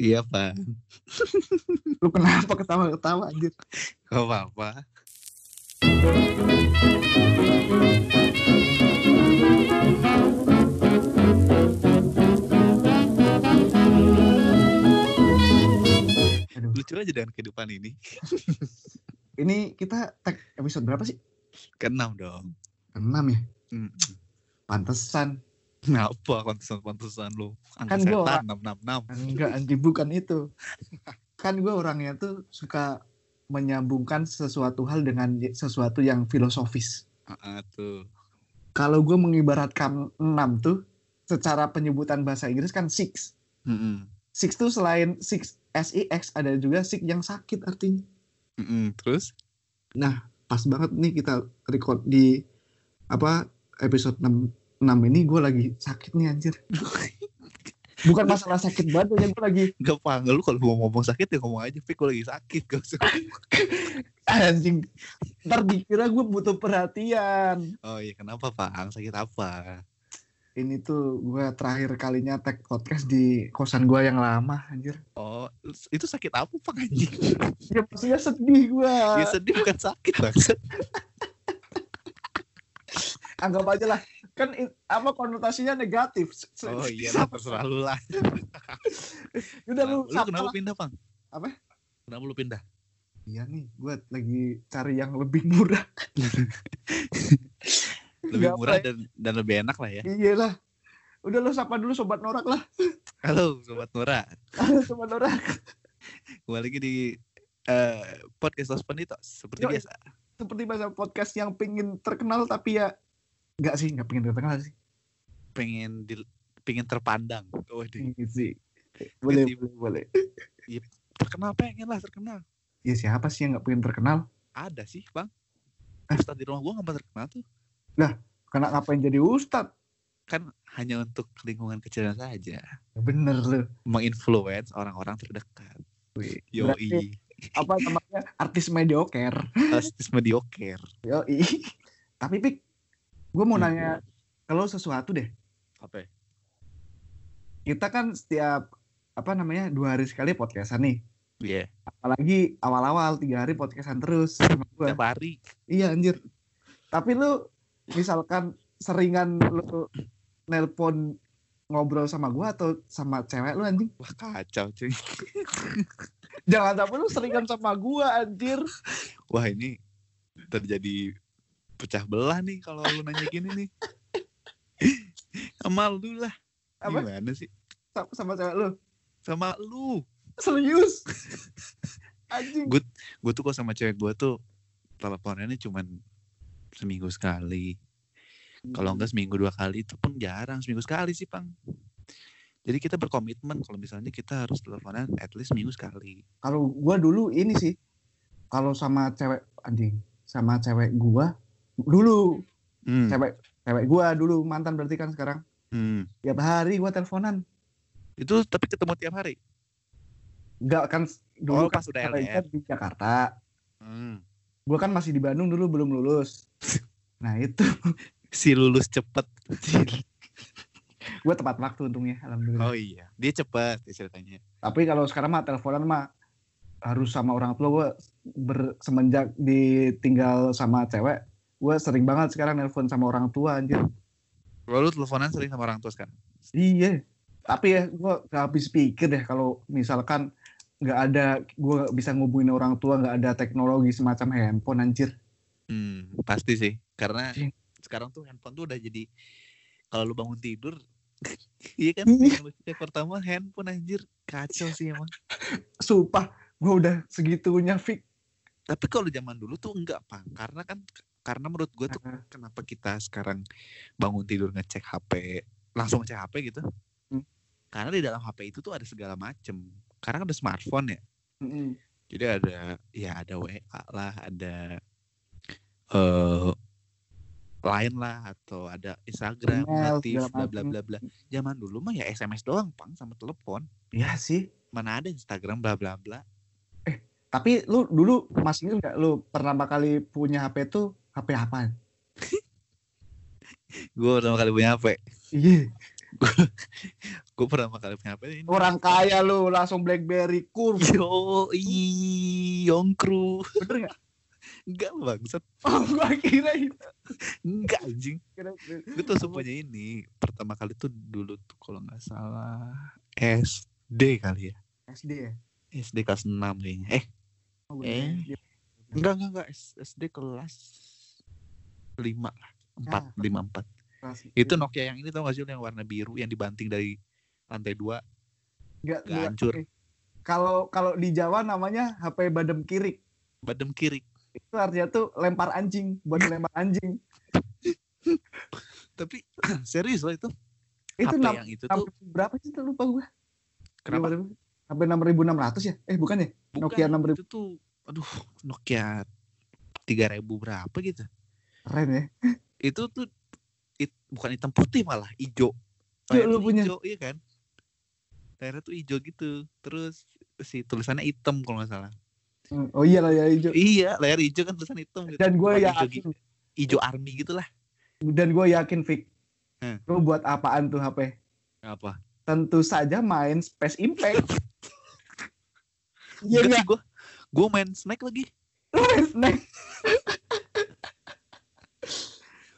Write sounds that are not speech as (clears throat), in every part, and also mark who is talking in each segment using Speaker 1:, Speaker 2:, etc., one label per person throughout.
Speaker 1: Iya, Pak.
Speaker 2: Lu kenapa ketawa-ketawa anjir?
Speaker 1: Gak apa-apa.
Speaker 2: Aduh.
Speaker 1: Lucu aja dengan kehidupan ini.
Speaker 2: Ini kita tag episode berapa sih?
Speaker 1: Kenam dong. (laughs)
Speaker 2: 6 ya?
Speaker 1: Mm.
Speaker 2: Pantesan.
Speaker 1: Kenapa kontesan-kontesan lu? Angka
Speaker 2: Kan gua
Speaker 1: setan 666.
Speaker 2: Enggak anjir bukan itu. Kan gue orangnya tuh suka menyambungkan sesuatu hal dengan sesuatu yang filosofis.
Speaker 1: Heeh, tuh.
Speaker 2: Kalau gue mengibaratkan 6 tuh secara penyebutan bahasa Inggris kan six.
Speaker 1: Mm-mm.
Speaker 2: Six tuh selain six S I X ada juga six yang sakit artinya.
Speaker 1: Mm-mm. Terus?
Speaker 2: pas banget nih kita record di apa episode 6, 6 ini gue lagi sakit nih anjir (laughs) bukan masalah sakit banget ya gue lagi
Speaker 1: Gak panggil lu kalau mau ngomong sakit ya ngomong aja. Pik, gue lagi sakit. (laughs) Gak usah.
Speaker 2: anjing ntar dikira gue butuh perhatian
Speaker 1: Oh iya, kenapa, Pak? Sakit apa?
Speaker 2: ini tuh gue terakhir kalinya tag podcast di kosan gue yang lama anjir
Speaker 1: Oh, itu sakit apa, Pak? Anjing.
Speaker 2: ya pastinya sedih gue
Speaker 1: Ya sedih bukan sakit,
Speaker 2: (laughs)
Speaker 1: maksud.
Speaker 2: anggap aja lah kan i- apa konotasinya negatif Se- se-
Speaker 1: Oh iya, lah, terserah lu lah.
Speaker 2: udah lu,
Speaker 1: Lu
Speaker 2: sapa
Speaker 1: kenapa
Speaker 2: lah.
Speaker 1: pindah, Bang?
Speaker 2: Apa?
Speaker 1: Kenapa lu pindah?
Speaker 2: iya nih gue lagi cari yang lebih murah
Speaker 1: Lebih
Speaker 2: Nggak
Speaker 1: murah
Speaker 2: apa-
Speaker 1: dan dan lebih enak lah ya.
Speaker 2: Iya lah. Udah lo sapa dulu sobat norak lah.
Speaker 1: Halo, sobat Nora.
Speaker 2: sobat norak.
Speaker 1: Kembali lagi di eh, podcast Los Penitos seperti
Speaker 2: Yoi.
Speaker 1: biasa.
Speaker 2: Seperti bahasa podcast yang pingin terkenal tapi ya nggak sih nggak pingin terkenal sih.
Speaker 1: Pengen di, pengen terpandang. Waduh,
Speaker 2: Pingin sih. Boleh
Speaker 1: Ganti-
Speaker 2: boleh boleh.
Speaker 1: terkenal pengen lah terkenal.
Speaker 2: Ya siapa sih yang nggak pingin terkenal?
Speaker 1: Ada sih, Bang.
Speaker 2: Eh.
Speaker 1: Ustaz di rumah gua nggak pernah terkenal tuh.
Speaker 2: Karena ngapain jadi ustad?
Speaker 1: Kan hanya untuk lingkungan kecilnya saja.
Speaker 2: Ya Bener lo.
Speaker 1: Menginfluence orang-orang terdekat.
Speaker 2: Berarti
Speaker 1: Yoi.
Speaker 2: apa namanya artis mediocre.
Speaker 1: Artis mediocre.
Speaker 2: Yoi. (laughs) tapi pik, gue mau
Speaker 1: Hmm.
Speaker 2: nanya kalau sesuatu deh.
Speaker 1: Apa? ya?
Speaker 2: Kita kan setiap apa namanya dua hari sekali podcastan nih.
Speaker 1: Iya.
Speaker 2: Apalagi awal-awal tiga hari podcastan terus sama gue.
Speaker 1: Tiap hari.
Speaker 2: Iya anjir. Tapi lu misalkan seringan lu nelpon ngobrol sama gua atau sama cewek lu anjing.
Speaker 1: Wah kacau cuy.
Speaker 2: Jangan sampai lu seringan sama gua anjir.
Speaker 1: Wah ini terjadi pecah belah nih kalau lu nanya gini nih. Sama lu lah.
Speaker 2: Apa?
Speaker 1: Gimana sih?
Speaker 2: Sa- Sama, cewek lu.
Speaker 1: Sama lu.
Speaker 2: Serius. anjing.
Speaker 1: Gua- Gue tuh kok sama cewek gue tuh teleponannya cuman seminggu sekali. Kalau enggak seminggu dua kali itu pun jarang. Seminggu sekali sih, Pang. Jadi kita berkomitmen kalau misalnya kita harus teleponan at least seminggu sekali.
Speaker 2: kalau gua dulu ini sih kalau sama cewek anjing, sama cewek gua dulu
Speaker 1: Hmm.
Speaker 2: cewek cewek gua dulu mantan berarti kan sekarang
Speaker 1: hmm.
Speaker 2: tiap hari gua teleponan.
Speaker 1: Itu tapi ketemu tiap hari.
Speaker 2: Enggak kan
Speaker 1: Oh,
Speaker 2: dulu kan
Speaker 1: pas udah
Speaker 2: ceweknya
Speaker 1: LDR.
Speaker 2: di Jakarta.
Speaker 1: Hmm.
Speaker 2: gue kan masih di Bandung dulu belum lulus nah itu (laughs)
Speaker 1: Si lulus cepet.
Speaker 2: gue tepat waktu untungnya alhamdulillah
Speaker 1: oh iya, dia cepet ya ceritanya.
Speaker 2: tapi kalau sekarang mah teleponan mah harus sama orang tua gue semenjak ditinggal sama cewek gue sering banget sekarang nelpon sama orang tua anjir
Speaker 1: Lalu teleponan sering sama orang tua sekarang.
Speaker 2: iya tapi ya gue gak habis pikir deh kalau misalkan nggak ada gue bisa ngubungin orang tua nggak ada teknologi semacam handphone anjir
Speaker 1: Hmm, pasti sih. Karena
Speaker 2: Iya.
Speaker 1: sekarang tuh handphone tuh udah jadi kalau lu bangun
Speaker 2: (laughs)
Speaker 1: tidur iya kan
Speaker 2: Iya.
Speaker 1: teknologi yang pertama handphone anjir kacau sih emang
Speaker 2: sumpah gue udah segitunya fix
Speaker 1: tapi kalau zaman dulu tuh enggak pang karena kan karena menurut gue tuh kenapa kita sekarang bangun tidur ngecek HP langsung ngecek HP gitu
Speaker 2: Hmm.
Speaker 1: karena di dalam HP itu tuh ada segala macem karena kan ada smartphone ya
Speaker 2: Mm-mm.
Speaker 1: Jadi ada ya ada WA lah, ada eh lain lah atau ada Instagram,
Speaker 2: Email,
Speaker 1: notif,
Speaker 2: segala
Speaker 1: bla bla
Speaker 2: macem.
Speaker 1: bla bla. Zaman dulu mah ya SMS doang, Pang, sama telepon.
Speaker 2: ya sih
Speaker 1: Mana ada Instagram bla bla bla.
Speaker 2: Tapi lu dulu masih ingat nggak lu pertama kali punya HP tuh HP apaan?
Speaker 1: Gue pertama kali punya HP.
Speaker 2: Iya.
Speaker 1: gue pertama kali punya HP ini
Speaker 2: Orang kaya lu langsung BlackBerry kurv.
Speaker 1: yo i yongkru
Speaker 2: Bener nggak?
Speaker 1: enggak lu bangsat
Speaker 2: Oh, (laughs) gua kira itu.
Speaker 1: enggak anjing
Speaker 2: Kira-
Speaker 1: gue tuh langsung punya ini pertama kali tuh dulu tuh kalau nggak salah SD kali ya
Speaker 2: SD ya.
Speaker 1: SD kelas 6 kayaknya eh
Speaker 2: Oh, gua
Speaker 1: Eh.
Speaker 2: kira dia-
Speaker 1: enggak enggak enggak S- SD kelas 5 lah
Speaker 2: Ah.
Speaker 1: 4 lima 4
Speaker 2: kelas-
Speaker 1: Itu Nokia yang ini tau gak sih lu yang warna biru yang dibanting dari lantai dua.
Speaker 2: Nggak,
Speaker 1: nggak
Speaker 2: nggak.
Speaker 1: hancur.
Speaker 2: Oke. Kalau kalau di Jawa namanya HP badem kirik.
Speaker 1: Badem kiri.
Speaker 2: Itu artinya tuh lempar anjing, buat lempar anjing.
Speaker 1: Tapi (clears throat) serius loh itu.
Speaker 2: Itu
Speaker 1: HP
Speaker 2: nam-
Speaker 1: yang itu
Speaker 2: nam-
Speaker 1: tuh
Speaker 2: berapa sih tuh lupa gua.
Speaker 1: kenapa?
Speaker 2: HP 6600 ya? Eh bukan ya?
Speaker 1: Bukan,
Speaker 2: Nokia 6000.
Speaker 1: Itu tuh aduh Nokia 3000 berapa gitu.
Speaker 2: Keren ya.
Speaker 1: Itu tuh it- bukan hitam putih malah hijau.
Speaker 2: Yuk, lu punya.
Speaker 1: Hijau, iya kan? Layarnya tuh hijau gitu. Terus si tulisannya hitam kalau nggak salah.
Speaker 2: Hmm, Oh iya lah ya hijau.
Speaker 1: Iya, layar hijau kan tulisan hitam gitu.
Speaker 2: Dan ya gue
Speaker 1: Warna
Speaker 2: yakin,
Speaker 1: hijau, hijau army gitu lah.
Speaker 2: dan gue yakin Vic.
Speaker 1: Hmm.
Speaker 2: Lu buat apaan tuh HP?
Speaker 1: Apa?
Speaker 2: Tentu saja main Space Impact. Iya
Speaker 1: Iya,
Speaker 2: nggak?
Speaker 1: gue gue main snack lagi.
Speaker 2: Lu main snack.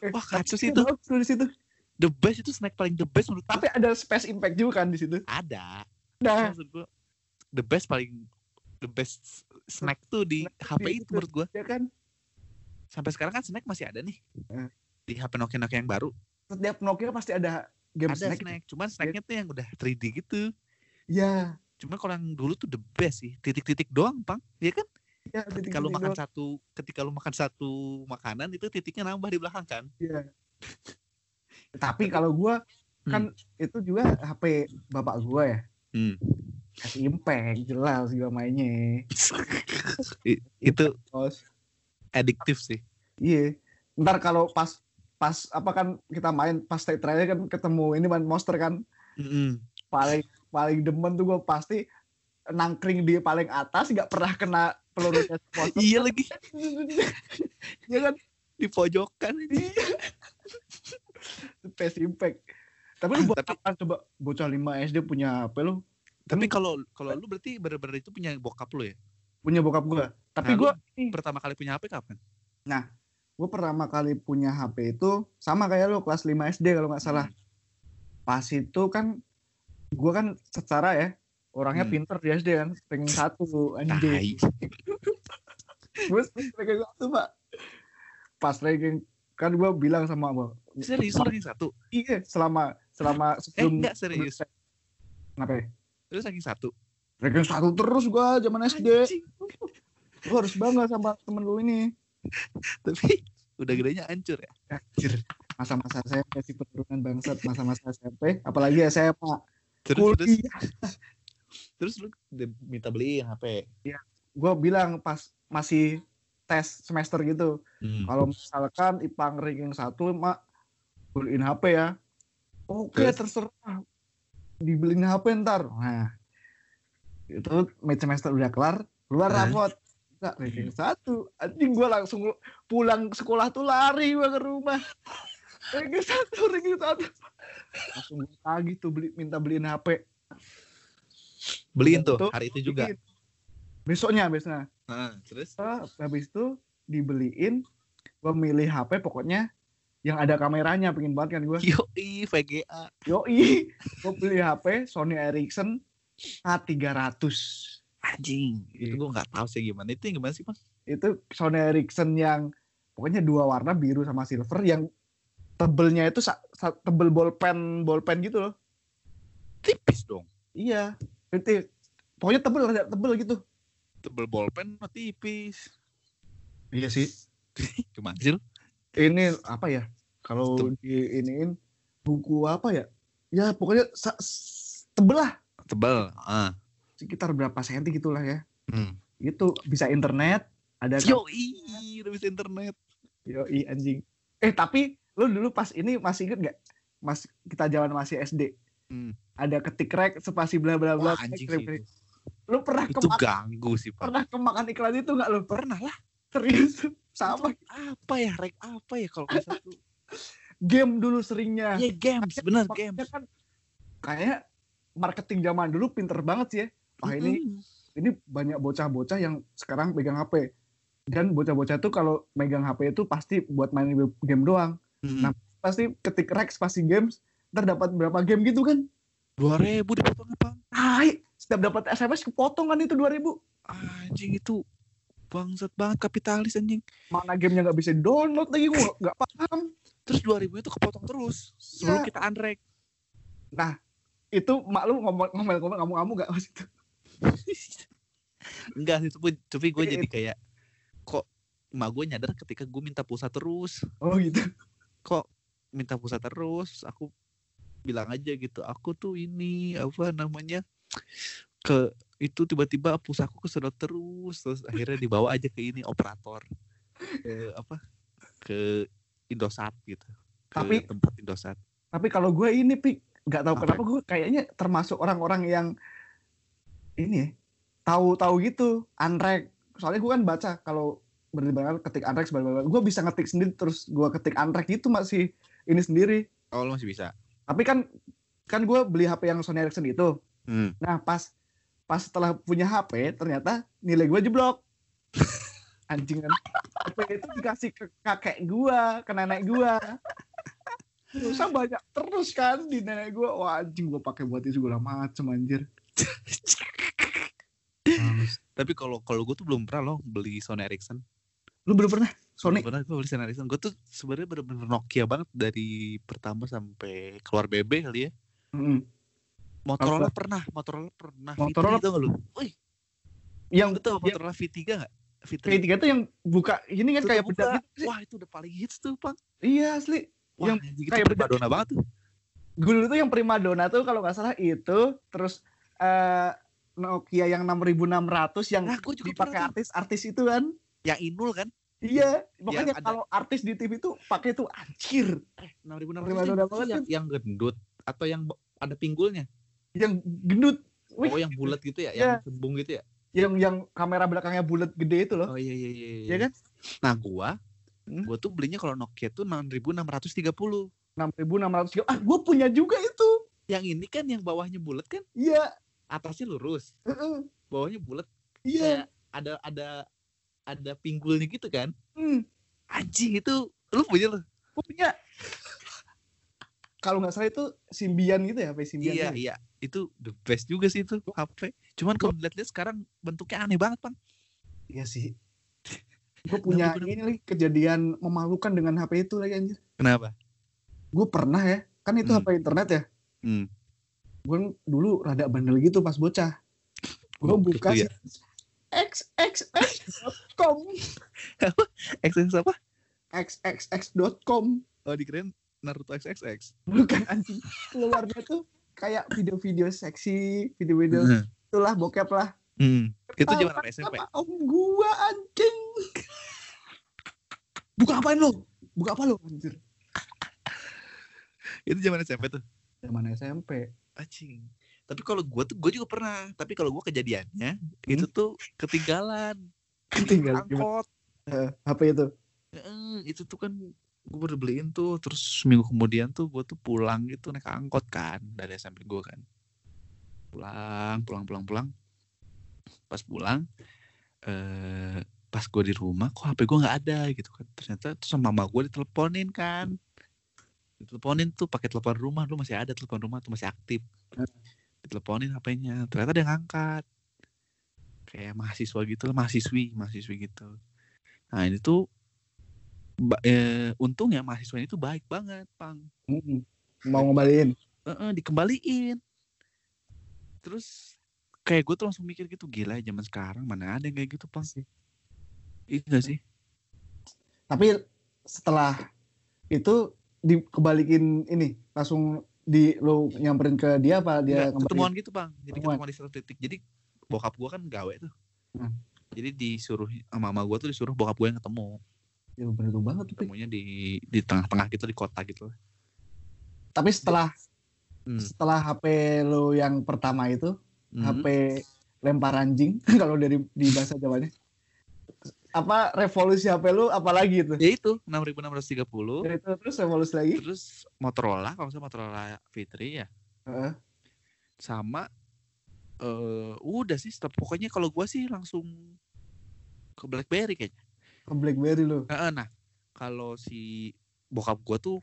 Speaker 2: Eh,
Speaker 1: Wah, kacau
Speaker 2: tapi
Speaker 1: sih
Speaker 2: ada bagus tuh di situ.
Speaker 1: the best itu snack paling the best menurut
Speaker 2: Tapi ada Space Impact juga kan di situ.
Speaker 1: gua. ada
Speaker 2: Nah,
Speaker 1: maksud gua the best paling the best snack tuh di
Speaker 2: Snack
Speaker 1: HP
Speaker 2: di-
Speaker 1: itu menurut gua
Speaker 2: ya kan
Speaker 1: sampai sekarang kan snack masih ada nih
Speaker 2: Eh.
Speaker 1: di HP Nokia Nokia yang baru
Speaker 2: setiap Nokia pasti ada game
Speaker 1: ada snack,
Speaker 2: snack.
Speaker 1: cuman snacknya tuh yang udah 3D gitu
Speaker 2: Ya,
Speaker 1: cuman kalau yang dulu tuh the best sih titik-titik doang pang ya kan
Speaker 2: ya
Speaker 1: ketika lu makan
Speaker 2: doang.
Speaker 1: satu ketika lu makan satu makanan itu titiknya nambah di belakang kan
Speaker 2: Iya. Tapi kalau gua kan itu juga HP bapak gua ya.
Speaker 1: Hmm.
Speaker 2: Kasih impact jelas gua mainnya.
Speaker 1: (laughs) I- itu
Speaker 2: Terus
Speaker 1: addictive sih
Speaker 2: iya. Ntar kalau pas pas apa kan kita main pas state trial kan ketemu ini man monster kan
Speaker 1: Mm-mm.
Speaker 2: paling paling demen tuh gua pasti nangkring di paling atas nggak pernah kena peluru gas (laughs) monster.
Speaker 1: iya lagi
Speaker 2: Iya kan Iya.
Speaker 1: di pojokan ini
Speaker 2: Space Impact. Tapi lu
Speaker 1: Ah,
Speaker 2: buat
Speaker 1: tapi-
Speaker 2: apa coba bocah 5 SD punya HP lu?
Speaker 1: tapi kalau kalau lu berarti bener-bener itu punya bokap lu ya
Speaker 2: Punya bokap gua.
Speaker 1: Nah,
Speaker 2: Tapi
Speaker 1: lu
Speaker 2: gua
Speaker 1: pertama kali punya HP kapan?
Speaker 2: gue pertama kali punya HP itu sama kayak lo kelas 5 SD kalau nggak salah.
Speaker 1: Hmm.
Speaker 2: Pas itu kan gue kan secara ya orangnya
Speaker 1: Hmm.
Speaker 2: pinter di SD kan ranking satu anjing.
Speaker 1: Tai.
Speaker 2: Gue ranking satu pak. Pas ranking kan gue bilang sama gue
Speaker 1: Serius lu ranking satu?
Speaker 2: iya selama selama
Speaker 1: Eh
Speaker 2: sebelum
Speaker 1: enggak serius.
Speaker 2: kenapa ya?
Speaker 1: Lu ranking satu.
Speaker 2: ranking satu terus gue zaman SD.
Speaker 1: Anjing.
Speaker 2: Gue harus bangga sama temen lu ini.
Speaker 1: Tapi udah gedenya hancur ya.
Speaker 2: Anjir, masa-masa SMP sih penurunan bangsat masa-masa SMP apalagi SMA
Speaker 1: Terus terus,
Speaker 2: kuliah
Speaker 1: terus lu de- minta beliin HP.
Speaker 2: gue bilang pas masih tes semester gitu
Speaker 1: Hmm.
Speaker 2: kalau misalkan ipang ranking satu mak beliin HP ya oke
Speaker 1: Terus?
Speaker 2: terserah dibeliin HP ntar nah itu mid semester udah kelar keluar
Speaker 1: Hah?
Speaker 2: rapot Nggak, ranking satu anjing gue langsung pulang sekolah tuh lari gue ke
Speaker 1: (laughs)
Speaker 2: rumah ranking satu ranking satu langsung gua tagih tuh beli minta beliin HP
Speaker 1: Beliin tuh
Speaker 2: Tuh,
Speaker 1: hari itu
Speaker 2: Iya.
Speaker 1: juga.
Speaker 2: besoknya besoknya
Speaker 1: Nah, terus
Speaker 2: Ah, habis itu dibeliin gue milih HP pokoknya yang ada kameranya pengen banget kan gue
Speaker 1: yo i VGA.
Speaker 2: yoi gue beli HP Sony Ericsson A300
Speaker 1: Anjing. Itu
Speaker 2: Iya.
Speaker 1: gua nggak tahu sih gimana. Itu yang gimana sih, Mas?
Speaker 2: itu Sony Ericsson yang pokoknya dua warna biru sama silver yang tebelnya itu sa- sa- tebel bolpen bolpen gitu loh
Speaker 1: Tipis dong.
Speaker 2: iya itu pokoknya tebel rada tebel gitu
Speaker 1: Tebel bolpen mah tipis.
Speaker 2: iya sih
Speaker 1: Gimana sih lu?
Speaker 2: ini apa ya kalau
Speaker 1: Tem-
Speaker 2: di iniin buku apa ya ya pokoknya sa- s- tebel lah
Speaker 1: Tebel. Ah.
Speaker 2: sekitar berapa senti gitulah ya
Speaker 1: Hmm.
Speaker 2: itu bisa internet ada kan?
Speaker 1: Yo i udah bisa internet.
Speaker 2: Yoi, anjing eh tapi lu dulu pas ini masih inget nggak mas kita jalan masih SD
Speaker 1: Hmm.
Speaker 2: ada ketik rek spasi bla bla bla
Speaker 1: Wah, anjing sih.
Speaker 2: ketik rek.
Speaker 1: itu.
Speaker 2: lu pernah
Speaker 1: Itu
Speaker 2: kemakan
Speaker 1: ganggu sih, Pak.
Speaker 2: pernah kemakan iklan itu nggak lu
Speaker 1: Pernah lah.
Speaker 2: serius (laughs) sama
Speaker 1: Apa ya rek apa ya kalau nggak salah tuh
Speaker 2: game dulu seringnya
Speaker 1: Iya games, bener
Speaker 2: Maksudnya
Speaker 1: games.
Speaker 2: kan kayak marketing zaman dulu pinter banget sih ya. Wah ini ini banyak bocah-bocah yang sekarang pegang HP dan bocah-bocah tuh kalau megang HP itu pasti buat main game doang.
Speaker 1: Mm-mm.
Speaker 2: Nah, Pasti ketik Rex pasti games ntar dapat berapa game gitu kan?
Speaker 1: 2000 dipotong apa?
Speaker 2: Tai, setiap dapat SMS kepotongan itu 2000.
Speaker 1: Anjing itu bangsat banget kapitalis anjing.
Speaker 2: Mana gamenya nggak bisa download lagi gua nggak- nggak paham.
Speaker 1: Terus 2000 itu kepotong terus sebelum
Speaker 2: Iya.
Speaker 1: kita unrek.
Speaker 2: Itu mak lu ngomong ngomel ngomel kamu kamu nggak pas itu. (laughs)
Speaker 1: Enggak sih, tapi, tapi gue
Speaker 2: Iya,
Speaker 1: jadi kayak kok emak gue nyadar ketika gue minta pulsa terus,
Speaker 2: Oh gitu.
Speaker 1: kok minta pulsa terus, aku bilang aja gitu, aku tuh ini apa namanya ke itu tiba-tiba pulsa aku kesedot terus, terus akhirnya dibawa aja ke ini operator ke apa ke Indosat gitu. Ke
Speaker 2: Tapi-
Speaker 1: tempat Indosat.
Speaker 2: Tapi kalau gue ini pik nggak tahu
Speaker 1: Apa?
Speaker 2: kenapa gue kayaknya termasuk orang-orang yang ini ya, tahu-tahu gitu unrek. Soalnya gue kan baca kalau berdebar ketik unrek sebenarnya gue bisa ngetik sendiri terus gue ketik unrek itu masih ini sendiri.
Speaker 1: Oh, lo masih bisa.
Speaker 2: Tapi kan kan gue beli HP yang Sony Ericsson itu.
Speaker 1: Hmm. (laughs)
Speaker 2: Nah pas pas setelah punya HP ternyata nilai gue jeblok. (laughs) Anjing kan. HP itu dikasih ke kakek gue, ke nenek gue. Pulsa banyak terus kan di nenek gue. Wah anjing gue pakai buat itu segala macem anjir.
Speaker 1: Tapi kalau kalau gue tuh belum pernah loh beli Sony Ericsson.
Speaker 2: Lu belum pernah Sony?
Speaker 1: Belum Pernah gue beli Sony Ericsson. Gue tuh sebenarnya bener-bener Nokia banget dari pertama sampai keluar BB kali ya.
Speaker 2: Mm.
Speaker 1: Motorola pernah, Motorola pernah.
Speaker 2: Motorola-
Speaker 1: V3 tau gak lu? Wih,
Speaker 2: Yang
Speaker 1: lu tau
Speaker 2: yang
Speaker 1: Motorola V3 gak? V3.
Speaker 2: ketiga tuh yang buka ini kan
Speaker 1: Itu
Speaker 2: kayak
Speaker 1: tuh
Speaker 2: bedak
Speaker 1: buka.
Speaker 2: gitu sih.
Speaker 1: Wah, itu udah paling hits tuh, Bang.
Speaker 2: Iya asli.
Speaker 1: Wah,
Speaker 2: Yang
Speaker 1: anjing, itu
Speaker 2: kayak bedak.
Speaker 1: primadona banget tuh.
Speaker 2: Gue dulu tuh yang primadona tuh kalau nggak salah itu terus eh, Nokia yang 6600 yang
Speaker 1: Nah, gue juga
Speaker 2: dipakai
Speaker 1: pernah tuh.
Speaker 2: artis-artis itu kan.
Speaker 1: Yang Inul kan?
Speaker 2: Iya, makanya
Speaker 1: Yang ada-
Speaker 2: kalau artis di TV itu pakai itu anjir
Speaker 1: 6600
Speaker 2: Primadona
Speaker 1: yang-
Speaker 2: banget
Speaker 1: yang, yang gendut atau yang ada pinggulnya.
Speaker 2: yang gendut. Wih.
Speaker 1: Oh, yang bulat gitu ya,
Speaker 2: Iya.
Speaker 1: yang kembung gitu ya.
Speaker 2: yang yang kamera belakangnya bulat gede itu loh.
Speaker 1: Oh iya iya iya.
Speaker 2: Iya kan?
Speaker 1: Nah, gua
Speaker 2: Hmm?
Speaker 1: gua tuh belinya kalau Nokia tuh 6630.
Speaker 2: 6600 Ah, gue punya juga itu.
Speaker 1: Yang ini kan yang bawahnya bulat kan?
Speaker 2: Iya,
Speaker 1: Atasnya lurus,
Speaker 2: heeh,
Speaker 1: bawahnya bulat. Kayak
Speaker 2: iya.
Speaker 1: ada ada ada pinggulnya gitu kan?
Speaker 2: Hmm,
Speaker 1: Anjing itu lu punya lu.
Speaker 2: gua punya. Kalau nggak salah itu Simbian gitu ya, HP Simbian.
Speaker 1: Iya,
Speaker 2: kan?
Speaker 1: iya. Itu the best juga sih itu HP. Cuman kalau dilihat-lihat sekarang bentuknya aneh banget, Bang.
Speaker 2: Iya sih. Gue punya
Speaker 1: Kenapa,
Speaker 2: ini lagi kejadian memalukan dengan HP itu lagi anjir.
Speaker 1: Kenapa?
Speaker 2: Gue pernah ya, kan itu
Speaker 1: Hmm.
Speaker 2: HP internet ya.
Speaker 1: Hmm.
Speaker 2: gue dulu rada bandel gitu pas bocah gue
Speaker 1: Gitu
Speaker 2: buka
Speaker 1: ya.
Speaker 2: situs xxx.com
Speaker 1: XX apa?
Speaker 2: xxx.com
Speaker 1: Oh, dikirain Naruto XXX.
Speaker 2: bukan anjing keluarnya tuh kayak video-video seksi video-video itulah bokep lah
Speaker 1: Hmm. Itu
Speaker 2: Gitu. Tahu
Speaker 1: zaman
Speaker 2: kan
Speaker 1: anak SMP.
Speaker 2: sama om gua anjing buka apain lo buka apa lo anjir
Speaker 1: Itu zaman SMP tuh.
Speaker 2: zaman SMP
Speaker 1: Acing. Tapi kalau gue tuh gue juga pernah. Tapi kalau gue kejadiannya itu tuh ketinggalan
Speaker 2: tinggal Hmm? gimana?
Speaker 1: angkot.
Speaker 2: Eh, HP itu
Speaker 1: Heeh, itu tuh kan gue baru beliin tuh. Terus seminggu kemudian tuh gue tuh pulang gitu naik angkot kan dari SMP gue kan. Pulang, pulang, pulang, pulang. Pas pulang, eh pas gue di rumah kok HP gue nggak ada gitu kan. Ternyata tuh sama mama gue diteleponin kan. Diteleponin tuh pakai telepon rumah, lu masih ada telepon rumah tuh masih aktif. diteleponin HP-nya ternyata dia ngangkat kayak mahasiswa gitu lah mahasiswi mahasiswi gitu nah ini tuh ba- eh, untungnya mahasiswa ini tuh baik banget pang Hmm.
Speaker 2: Mm-mm. mau ngembaliin
Speaker 1: Heeh, dikembaliin terus kayak gue tuh langsung mikir gitu gila zaman sekarang mana ada yang kayak gitu pang Iya gak sih
Speaker 2: tapi setelah itu dikebalikin ini langsung di lo nyamperin ke dia apa dia
Speaker 1: Nggak, ketemuan gitu bang jadi
Speaker 2: Ketemuan.
Speaker 1: ketemuan di satu titik jadi bokap gue kan gawe tuh
Speaker 2: Hmm.
Speaker 1: jadi disuruh sama mama gue tuh disuruh bokap gue yang ketemu
Speaker 2: ya, bener tuh banget tuh, Pik.
Speaker 1: ketemunya di di tengah-tengah gitu di kota gitu lah.
Speaker 2: tapi setelah
Speaker 1: Hmm.
Speaker 2: setelah HP lo yang pertama itu
Speaker 1: Mhm.
Speaker 2: HP lempar anjing (laughs) kalau dari di bahasa Jawanya apa revolusi HP lo apalagi itu
Speaker 1: ya itu 6630
Speaker 2: itu terus revolusi lagi
Speaker 1: terus Motorola kalau nggak salah Motorola Fitri ya
Speaker 2: Heeh.
Speaker 1: sama eh udah sih stop pokoknya kalau gua sih langsung ke BlackBerry kayaknya
Speaker 2: ke BlackBerry lo.
Speaker 1: Heeh, nah kalau si bokap gua tuh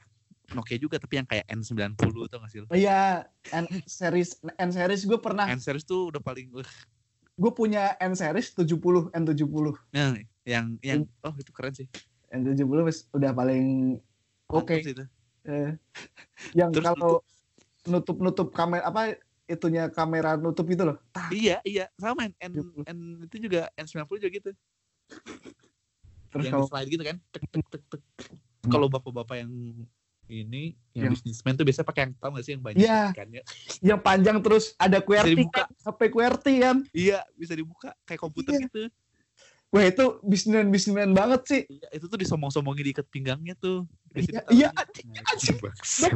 Speaker 1: Nokia juga tapi yang kayak N90 tuh nggak sih lo?
Speaker 2: Oh Iya, N series N series gue pernah
Speaker 1: N series tuh udah paling eh,
Speaker 2: gue punya N series 70 N 70
Speaker 1: nah yang yang
Speaker 2: Uh.
Speaker 1: oh itu keren sih
Speaker 2: N 70 wis udah paling oke.
Speaker 1: Mantap sih itu.
Speaker 2: Eh, yang
Speaker 1: Terus
Speaker 2: kalau nutup nutup kamera apa itunya kamera nutup itu loh. Tah,
Speaker 1: iya iya sama N, N,
Speaker 2: Gitu.
Speaker 1: N itu juga N90 juga gitu
Speaker 2: terus
Speaker 1: yang
Speaker 2: kalau Hmm.
Speaker 1: slide gitu kan tek tek tek tek kalau bapak-bapak yang ini yang
Speaker 2: Yang-
Speaker 1: bisnismen tuh biasa pakai yang tau gak sih yang banyak
Speaker 2: Iya.
Speaker 1: ikannya?
Speaker 2: yang panjang terus ada QWERTY
Speaker 1: dibuka.
Speaker 2: kan, HP QWERTY kan.
Speaker 1: iya bisa dibuka kayak komputer
Speaker 2: Iya.
Speaker 1: gitu
Speaker 2: Wah itu bisnismen bisnismen banget sih.
Speaker 1: iya, itu tuh disombong-sombongin diikat pinggangnya tuh Di situ
Speaker 2: Iya,
Speaker 1: taruh.
Speaker 2: iya,
Speaker 1: Nah,
Speaker 2: anjing.
Speaker 1: bangsa.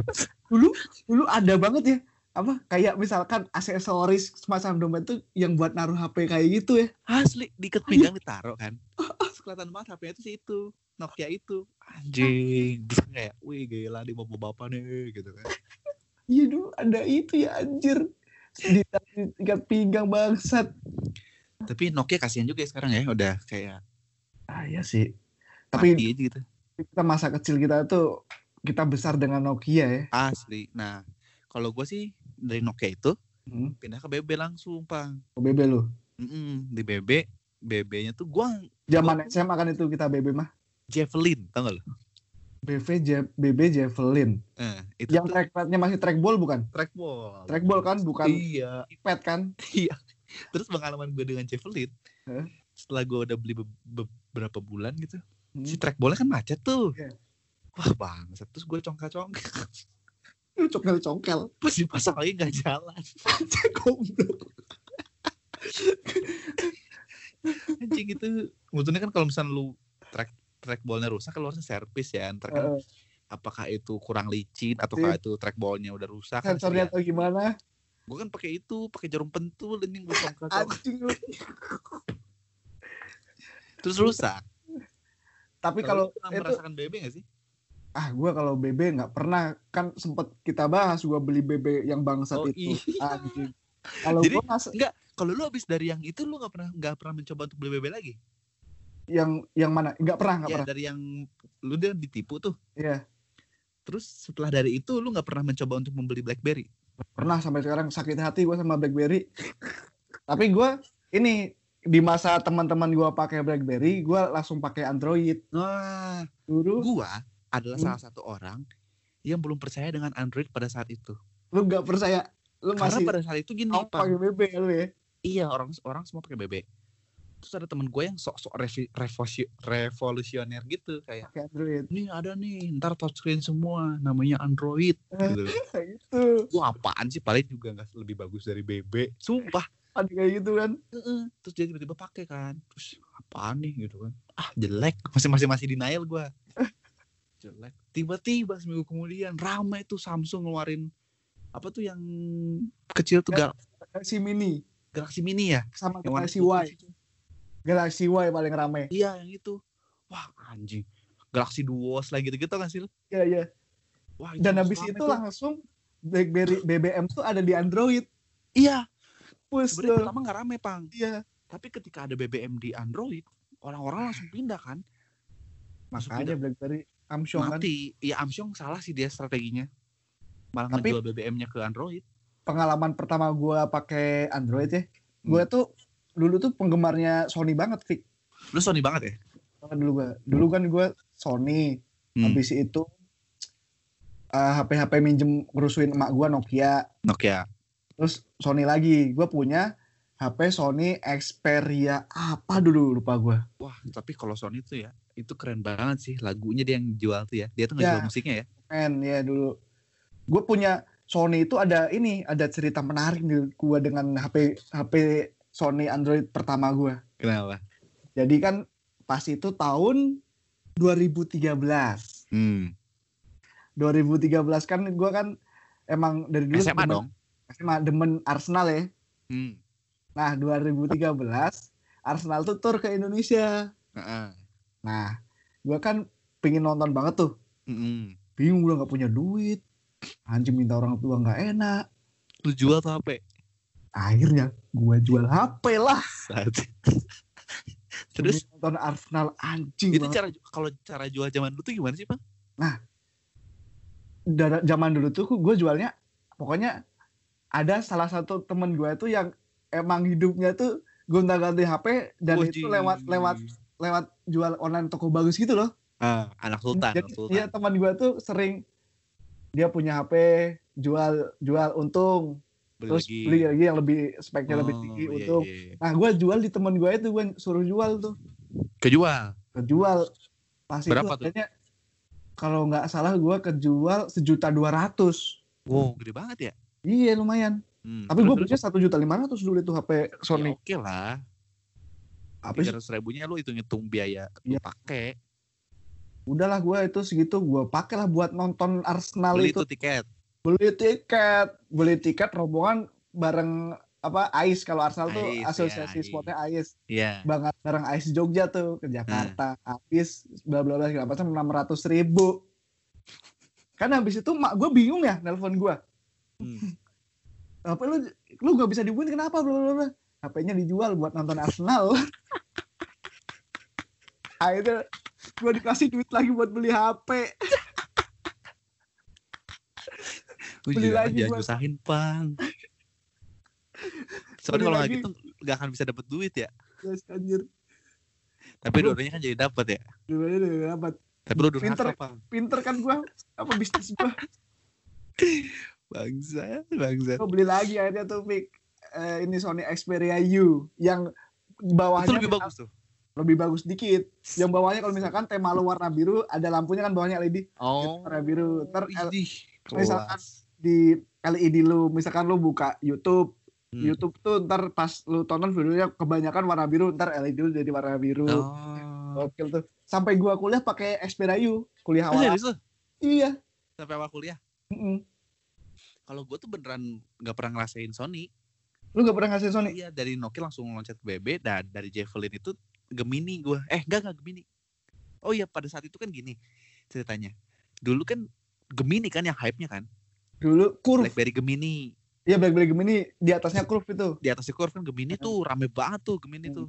Speaker 2: dulu dulu ada banget ya apa kayak misalkan aksesoris semacam dompet tuh yang buat naruh HP kayak gitu ya
Speaker 1: asli diikat pinggang ditaruh kan
Speaker 2: Oh,
Speaker 1: Terus kelihatan banget HP-nya itu sih itu Nokia itu anjing terus kan kayak wih gila di bapak-bapak nih gitu kan
Speaker 2: iya dulu ada itu ya anjir di di ikat pinggang bangsat
Speaker 1: tapi Nokia kasihan juga ya sekarang ya udah kayak
Speaker 2: ah ya sih tapi
Speaker 1: tapi aja gitu
Speaker 2: kita masa kecil kita tuh kita besar dengan Nokia ya
Speaker 1: asli nah kalau gue sih dari Nokia itu
Speaker 2: hmm.
Speaker 1: pindah ke BB langsung pang
Speaker 2: BB lu
Speaker 1: Mm-mm, di BB BB-nya tuh gua
Speaker 2: zaman SMA kan itu kita BB mah
Speaker 1: Javelin tau gak lo
Speaker 2: BV Je- BB Javelin
Speaker 1: Eh, itu
Speaker 2: yang
Speaker 1: tuh
Speaker 2: trackpadnya masih trackball bukan
Speaker 1: trackball
Speaker 2: trackball kan bukan
Speaker 1: iya
Speaker 2: pad kan
Speaker 1: terus pengalaman gue dengan Javelin
Speaker 2: Hah?
Speaker 1: setelah gue udah beli be- beberapa bulan gitu
Speaker 2: Hmm.
Speaker 1: si trackballnya kan macet tuh
Speaker 2: Iya.
Speaker 1: wah bang terus gue congkak-congkak (laughs)
Speaker 2: lu (laughs) congkel congkel
Speaker 1: pas dipasang lagi nggak jalan
Speaker 2: goblok
Speaker 1: anjing itu Untungnya kan kalau misalnya lu track trackballnya rusak kalau harusnya servis ya ntar kan
Speaker 2: Eh,
Speaker 1: apakah itu kurang licin ataukah itu trackballnya udah rusak kan bisa
Speaker 2: Iya. sensornya atau gimana
Speaker 1: gue kan pakai itu pakai jarum pentul ini gue congkak
Speaker 2: Anjing lu.
Speaker 1: terus rusak
Speaker 2: Tapi
Speaker 1: Lu
Speaker 2: kalau
Speaker 1: pernah
Speaker 2: itu
Speaker 1: merasakan BB gak sih
Speaker 2: ah gua kalau BB nggak pernah kan sempet kita bahas gua beli BB yang bangsat
Speaker 1: Oh,
Speaker 2: itu.
Speaker 1: iya.
Speaker 2: Anjing. Kalau
Speaker 1: Jadi-
Speaker 2: gua mas
Speaker 1: kalau lu abis dari yang itu lu nggak pernah nggak pernah mencoba untuk beli BB lagi
Speaker 2: yang yang mana? nggak pernah, nggak
Speaker 1: ya
Speaker 2: pernah.
Speaker 1: dari yang lu dia ditipu tuh
Speaker 2: Iya.
Speaker 1: terus setelah dari itu lu nggak pernah mencoba untuk membeli BlackBerry
Speaker 2: Pernah sampai sekarang sakit hati gua sama BlackBerry. (laughs) Tapi gua ini di masa teman-teman gua pakai BlackBerry, gua langsung pakai Android.
Speaker 1: wah
Speaker 2: Dulu
Speaker 1: gua adalah
Speaker 2: Hmm.
Speaker 1: salah satu orang yang belum percaya dengan Android pada saat itu
Speaker 2: lu nggak percaya lu
Speaker 1: karena
Speaker 2: masih
Speaker 1: pada saat itu gini
Speaker 2: mau
Speaker 1: Pak.
Speaker 2: pakai BB lu ya.
Speaker 1: iya orang orang semua pakai BB terus ada temen gue yang sok-sok revi- revosi- revolusioner gitu kayak
Speaker 2: Pakai Android. (laughs)
Speaker 1: ini ada nih ntar touchscreen semua namanya Android
Speaker 2: Eh.
Speaker 1: gitu
Speaker 2: Kayak gitu.
Speaker 1: gue apaan sih paling juga nggak lebih bagus dari BB sumpah
Speaker 2: Ada kayak gitu kan.
Speaker 1: Heeh. terus dia tiba-tiba pakai kan terus apaan nih gitu kan ah jelek (laughs) masih masih masih denial gue
Speaker 2: (laughs)
Speaker 1: jelek tiba-tiba seminggu kemudian ramai tuh Samsung ngeluarin apa tuh yang kecil tuh Gal-
Speaker 2: Si mini
Speaker 1: Galaxy Mini ya
Speaker 2: sama
Speaker 1: yang warna
Speaker 2: Galaxy
Speaker 1: putih
Speaker 2: Y.
Speaker 1: itu.
Speaker 2: Galaxy Y paling rame.
Speaker 1: iya yang itu wah anjing Galaxy Duos lagi gitu-gitu kan sih
Speaker 2: Iya, iya.
Speaker 1: wah itu
Speaker 2: Dan
Speaker 1: langsung
Speaker 2: habis
Speaker 1: rame
Speaker 2: itu
Speaker 1: tuh.
Speaker 2: langsung BlackBerry BBM tuh ada di Android.
Speaker 1: iya
Speaker 2: Push
Speaker 1: sebenarnya
Speaker 2: tuh.
Speaker 1: pertama nggak rame pang
Speaker 2: Iya.
Speaker 1: tapi ketika ada BBM di Android orang-orang langsung pindah kan Langsung
Speaker 2: Makanya BlackBerry Samsung kan
Speaker 1: mati ya Samsung salah sih dia strateginya malah
Speaker 2: Tapi-
Speaker 1: ngejual BBM-nya ke Android
Speaker 2: pengalaman pertama gua pakai Android ya.
Speaker 1: Hmm.
Speaker 2: Gua tuh dulu tuh penggemarnya Sony banget, Fik.
Speaker 1: lu Sony banget ya
Speaker 2: Banget Dulu gua. Dulu kan gua Sony.
Speaker 1: Hmm.
Speaker 2: Habis itu eh, HP-HP minjem rusuhin emak gua Nokia.
Speaker 1: Nokia
Speaker 2: Terus Sony lagi. Gua punya HP Sony Xperia apa dulu lupa gua.
Speaker 1: wah tapi kalau Sony tuh ya itu keren banget sih lagunya dia yang jual tuh ya dia tuh nggak
Speaker 2: Ya.
Speaker 1: jual musiknya ya
Speaker 2: N ya dulu. Gue punya Sony itu ada ini, ada cerita menarik nih gue dengan HP HP Sony Android pertama gue.
Speaker 1: kenapa
Speaker 2: Jadi kan pas itu tahun 2013. 2013
Speaker 1: hmm.
Speaker 2: kan gue kan emang dari dulu
Speaker 1: SMA
Speaker 2: demen-
Speaker 1: dong
Speaker 2: SMA demen Arsenal ya.
Speaker 1: hmm.
Speaker 2: Nah 2013 Arsenal tuh tur ke Indonesia.
Speaker 1: Heeh.
Speaker 2: Nah gue kan pengen nonton banget tuh.
Speaker 1: Mm-mm.
Speaker 2: Bingung gue nggak punya duit. Anjing minta orang tua nggak enak.
Speaker 1: lu jual tuh HP
Speaker 2: akhirnya gua jual HP lah
Speaker 1: saat
Speaker 2: (laughs)
Speaker 1: terus
Speaker 2: Demi nonton Arsenal anjing
Speaker 1: itu
Speaker 2: banget.
Speaker 1: cara kalau cara jual zaman dulu tuh gimana sih bang
Speaker 2: Dari zaman dulu tuh gue jualnya pokoknya ada salah satu temen gue tuh yang emang hidupnya tuh gonta ganti HP dan itu
Speaker 1: Wajing.
Speaker 2: lewat lewat lewat jual online toko bagus gitu loh
Speaker 1: Ah, anak sultan
Speaker 2: jadi
Speaker 1: anak sultan
Speaker 2: iya teman gue tuh sering dia punya HP jual jual untung
Speaker 1: beli
Speaker 2: terus
Speaker 1: lagi
Speaker 2: beli lagi yang lebih speknya lebih
Speaker 1: Oh,
Speaker 2: tinggi
Speaker 1: iya,
Speaker 2: untung
Speaker 1: iya.
Speaker 2: nah gue jual di teman gue itu gue suruh jual tuh
Speaker 1: kejual
Speaker 2: kejual pas
Speaker 1: Berapa
Speaker 2: itu
Speaker 1: tuh?
Speaker 2: harganya, kalau nggak salah gue kejual sejuta dua ratus
Speaker 1: wow gede banget ya
Speaker 2: iya lumayan
Speaker 1: Hmm,
Speaker 2: tapi gue
Speaker 1: terus-
Speaker 2: belinya satu juta lima ratus dulu itu HP
Speaker 1: terus- ya,
Speaker 2: Sony
Speaker 1: oke lah
Speaker 2: apa
Speaker 1: tiga
Speaker 2: sih
Speaker 1: ribunya lu hitung hitung biaya lu
Speaker 2: Iya.
Speaker 1: pakai
Speaker 2: udahlah gue itu segitu gue pakai lah buat nonton Arsenal
Speaker 1: beli
Speaker 2: itu
Speaker 1: itu tiket
Speaker 2: beli tiket beli tiket rombongan bareng apa Ais kalau Arsenal tuh
Speaker 1: Ais, ya,
Speaker 2: asosiasi
Speaker 1: Ais.
Speaker 2: sportnya Ais
Speaker 1: Iya.
Speaker 2: banget bareng Ais Jogja
Speaker 1: Hmm.
Speaker 2: tuh ke Jakarta habis bla bla bla segala macam enam ratus ribu kan habis itu mak gue bingung ya nelpon gue
Speaker 1: Hmm.
Speaker 2: apa lu lu gak bisa dihubungin kenapa bla bla bla HP-nya dijual buat nonton
Speaker 1: (laughs)
Speaker 2: Arsenal akhirnya gue dikasih duit lagi buat beli HP
Speaker 1: Lu
Speaker 2: Beli
Speaker 1: jangan,
Speaker 2: lagi
Speaker 1: jangan
Speaker 2: gua.
Speaker 1: nyusahin,
Speaker 2: (laughs)
Speaker 1: Pang. Soalnya
Speaker 2: Beli
Speaker 1: kalau nggak
Speaker 2: lagi.
Speaker 1: gitu nggak akan bisa dapet duit ya.
Speaker 2: Yes, anjir
Speaker 1: Tapi
Speaker 2: Gua-
Speaker 1: dua-duanya kan jadi dapet ya.
Speaker 2: Dulu-dulu udah dapat
Speaker 1: Tapi lu durhaka,
Speaker 2: Pinter.
Speaker 1: Pang.
Speaker 2: pinter kan gue apa bisnis gue
Speaker 1: Bangsa, bangsa.
Speaker 2: gue beli lagi akhirnya tuh Vic Eh, ini Sony Xperia U yang
Speaker 1: Itu
Speaker 2: bawahnya
Speaker 1: lebih bagus tuh.
Speaker 2: lebih bagus dikit yang bawahnya kalau misalkan tema lo warna biru ada lampunya kan bawahnya LED
Speaker 1: Oh.
Speaker 2: warna biru ter
Speaker 1: Idih,
Speaker 2: misalkan
Speaker 1: kelas.
Speaker 2: di LED lu misalkan lu buka YouTube
Speaker 1: Hmm.
Speaker 2: YouTube tuh ntar pas lu tonton videonya kebanyakan warna biru ntar LED lu jadi warna biru
Speaker 1: Oh.
Speaker 2: gokil tuh sampai gua kuliah pakai Xperia U kuliah
Speaker 1: Lu
Speaker 2: awal
Speaker 1: Oh, serius lu?
Speaker 2: iya
Speaker 1: Sampai awal kuliah.
Speaker 2: Mm-mm.
Speaker 1: Kalau gue tuh beneran nggak pernah ngerasain Sony.
Speaker 2: lu gak pernah ngasih Sony
Speaker 1: Iya dari Nokia langsung loncat ke BB dan dari Javelin itu Gemini gua. Eh enggak enggak Gemini. Oh iya pada saat itu kan gini ceritanya. Dulu kan Gemini kan yang hype-nya kan.
Speaker 2: dulu kurve
Speaker 1: BlackBerry Gemini.
Speaker 2: iya Blackberry Gemini di atasnya kurve itu
Speaker 1: Di atas kurve kan Gemini tuh rame banget tuh Gemini
Speaker 2: Hmm.
Speaker 1: tuh.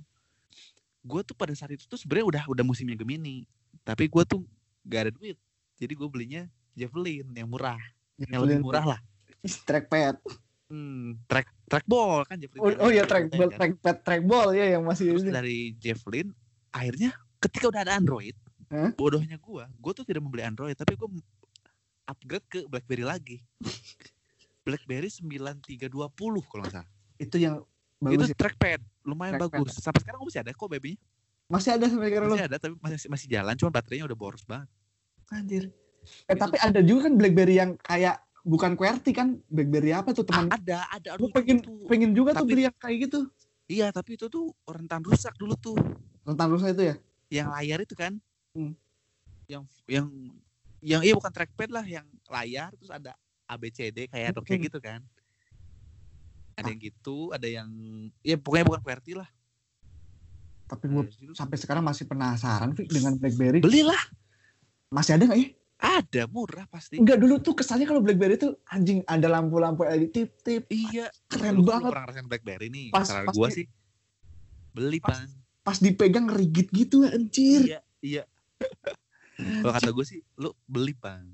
Speaker 1: Gue tuh pada saat itu tuh sebenarnya udah udah musimnya Gemini. Tapi gua tuh gak ada duit. Jadi gue belinya Javelin yang murah, yang lebih murah lah.
Speaker 2: Ih, trackpad
Speaker 1: Hmm, track trackball kan Javelin.
Speaker 2: Oh, oh iya trackball,
Speaker 1: Javelin kan.
Speaker 2: trackpad, trackball ya yang masih
Speaker 1: Terus
Speaker 2: ini.
Speaker 1: dari Javelin akhirnya ketika udah ada Android,
Speaker 2: Hah?
Speaker 1: bodohnya gua, gua tuh tidak membeli Android tapi gua upgrade ke BlackBerry lagi. BlackBerry 9320 kalau nggak salah.
Speaker 2: itu yang
Speaker 1: itu
Speaker 2: bagus. ya.
Speaker 1: trackpad lumayan
Speaker 2: Trackpad.
Speaker 1: bagus. Sampai sekarang gua masih ada kok babynya.
Speaker 2: Masih ada sampai sekarang lo.
Speaker 1: Masih ada tapi masih masih jalan cuma baterainya udah boros banget.
Speaker 2: Anjir. Eh
Speaker 1: Itu-
Speaker 2: tapi ada juga kan BlackBerry yang kayak bukan QWERTY kan? BlackBerry apa tuh teman?
Speaker 1: Ah, ada, ada
Speaker 2: Lu
Speaker 1: aduh,
Speaker 2: pengen
Speaker 1: itu-
Speaker 2: pengen juga tuh
Speaker 1: tapi-
Speaker 2: beli yang kayak gitu.
Speaker 1: Iya, tapi itu tuh rentan rusak dulu tuh.
Speaker 2: Tentang rusa itu ya.
Speaker 1: Yang layar itu kan.
Speaker 2: Hmm.
Speaker 1: Yang yang yang iya bukan trackpad lah, yang layar terus ada ABCD kayak
Speaker 2: Hmm.
Speaker 1: kayak gitu kan. Ada yang gitu, ada yang ya pokoknya bukan QWERTY lah.
Speaker 2: Tapi gue sampai sekarang masih penasaran Vic, dengan BlackBerry.
Speaker 1: Belilah,
Speaker 2: Masih ada nggak ya?
Speaker 1: ada murah pasti.
Speaker 2: Enggak dulu tuh kesannya kalau BlackBerry tuh anjing ada lampu-lampu E LED tip-tip
Speaker 1: Iya, lu
Speaker 2: keren
Speaker 1: kan
Speaker 2: banget.
Speaker 1: Pernah ngerasain BlackBerry nih?
Speaker 2: Pas-
Speaker 1: Saran
Speaker 2: pas
Speaker 1: gua
Speaker 2: di-
Speaker 1: sih beli
Speaker 2: pas-
Speaker 1: pan.
Speaker 2: Pas dipegang rigid gitu anjir.
Speaker 1: Iya, iya. Kalau kata gue sih, lu beli pan.